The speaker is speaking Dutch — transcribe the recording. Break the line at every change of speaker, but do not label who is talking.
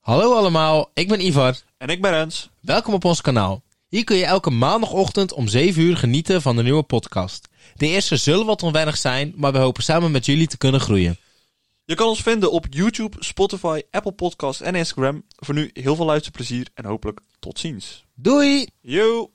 Hallo allemaal, ik ben Ivar.
En ik ben Rens.
Welkom op ons kanaal. Hier kun je elke maandagochtend om 7 uur genieten van de nieuwe podcast. De eerste zullen wat onwennig zijn, maar we hopen samen met jullie te kunnen groeien.
Je kan ons vinden op YouTube, Spotify, Apple Podcast en Instagram. Voor nu heel veel luisterplezier en hopelijk tot ziens.
Doei!
Yo!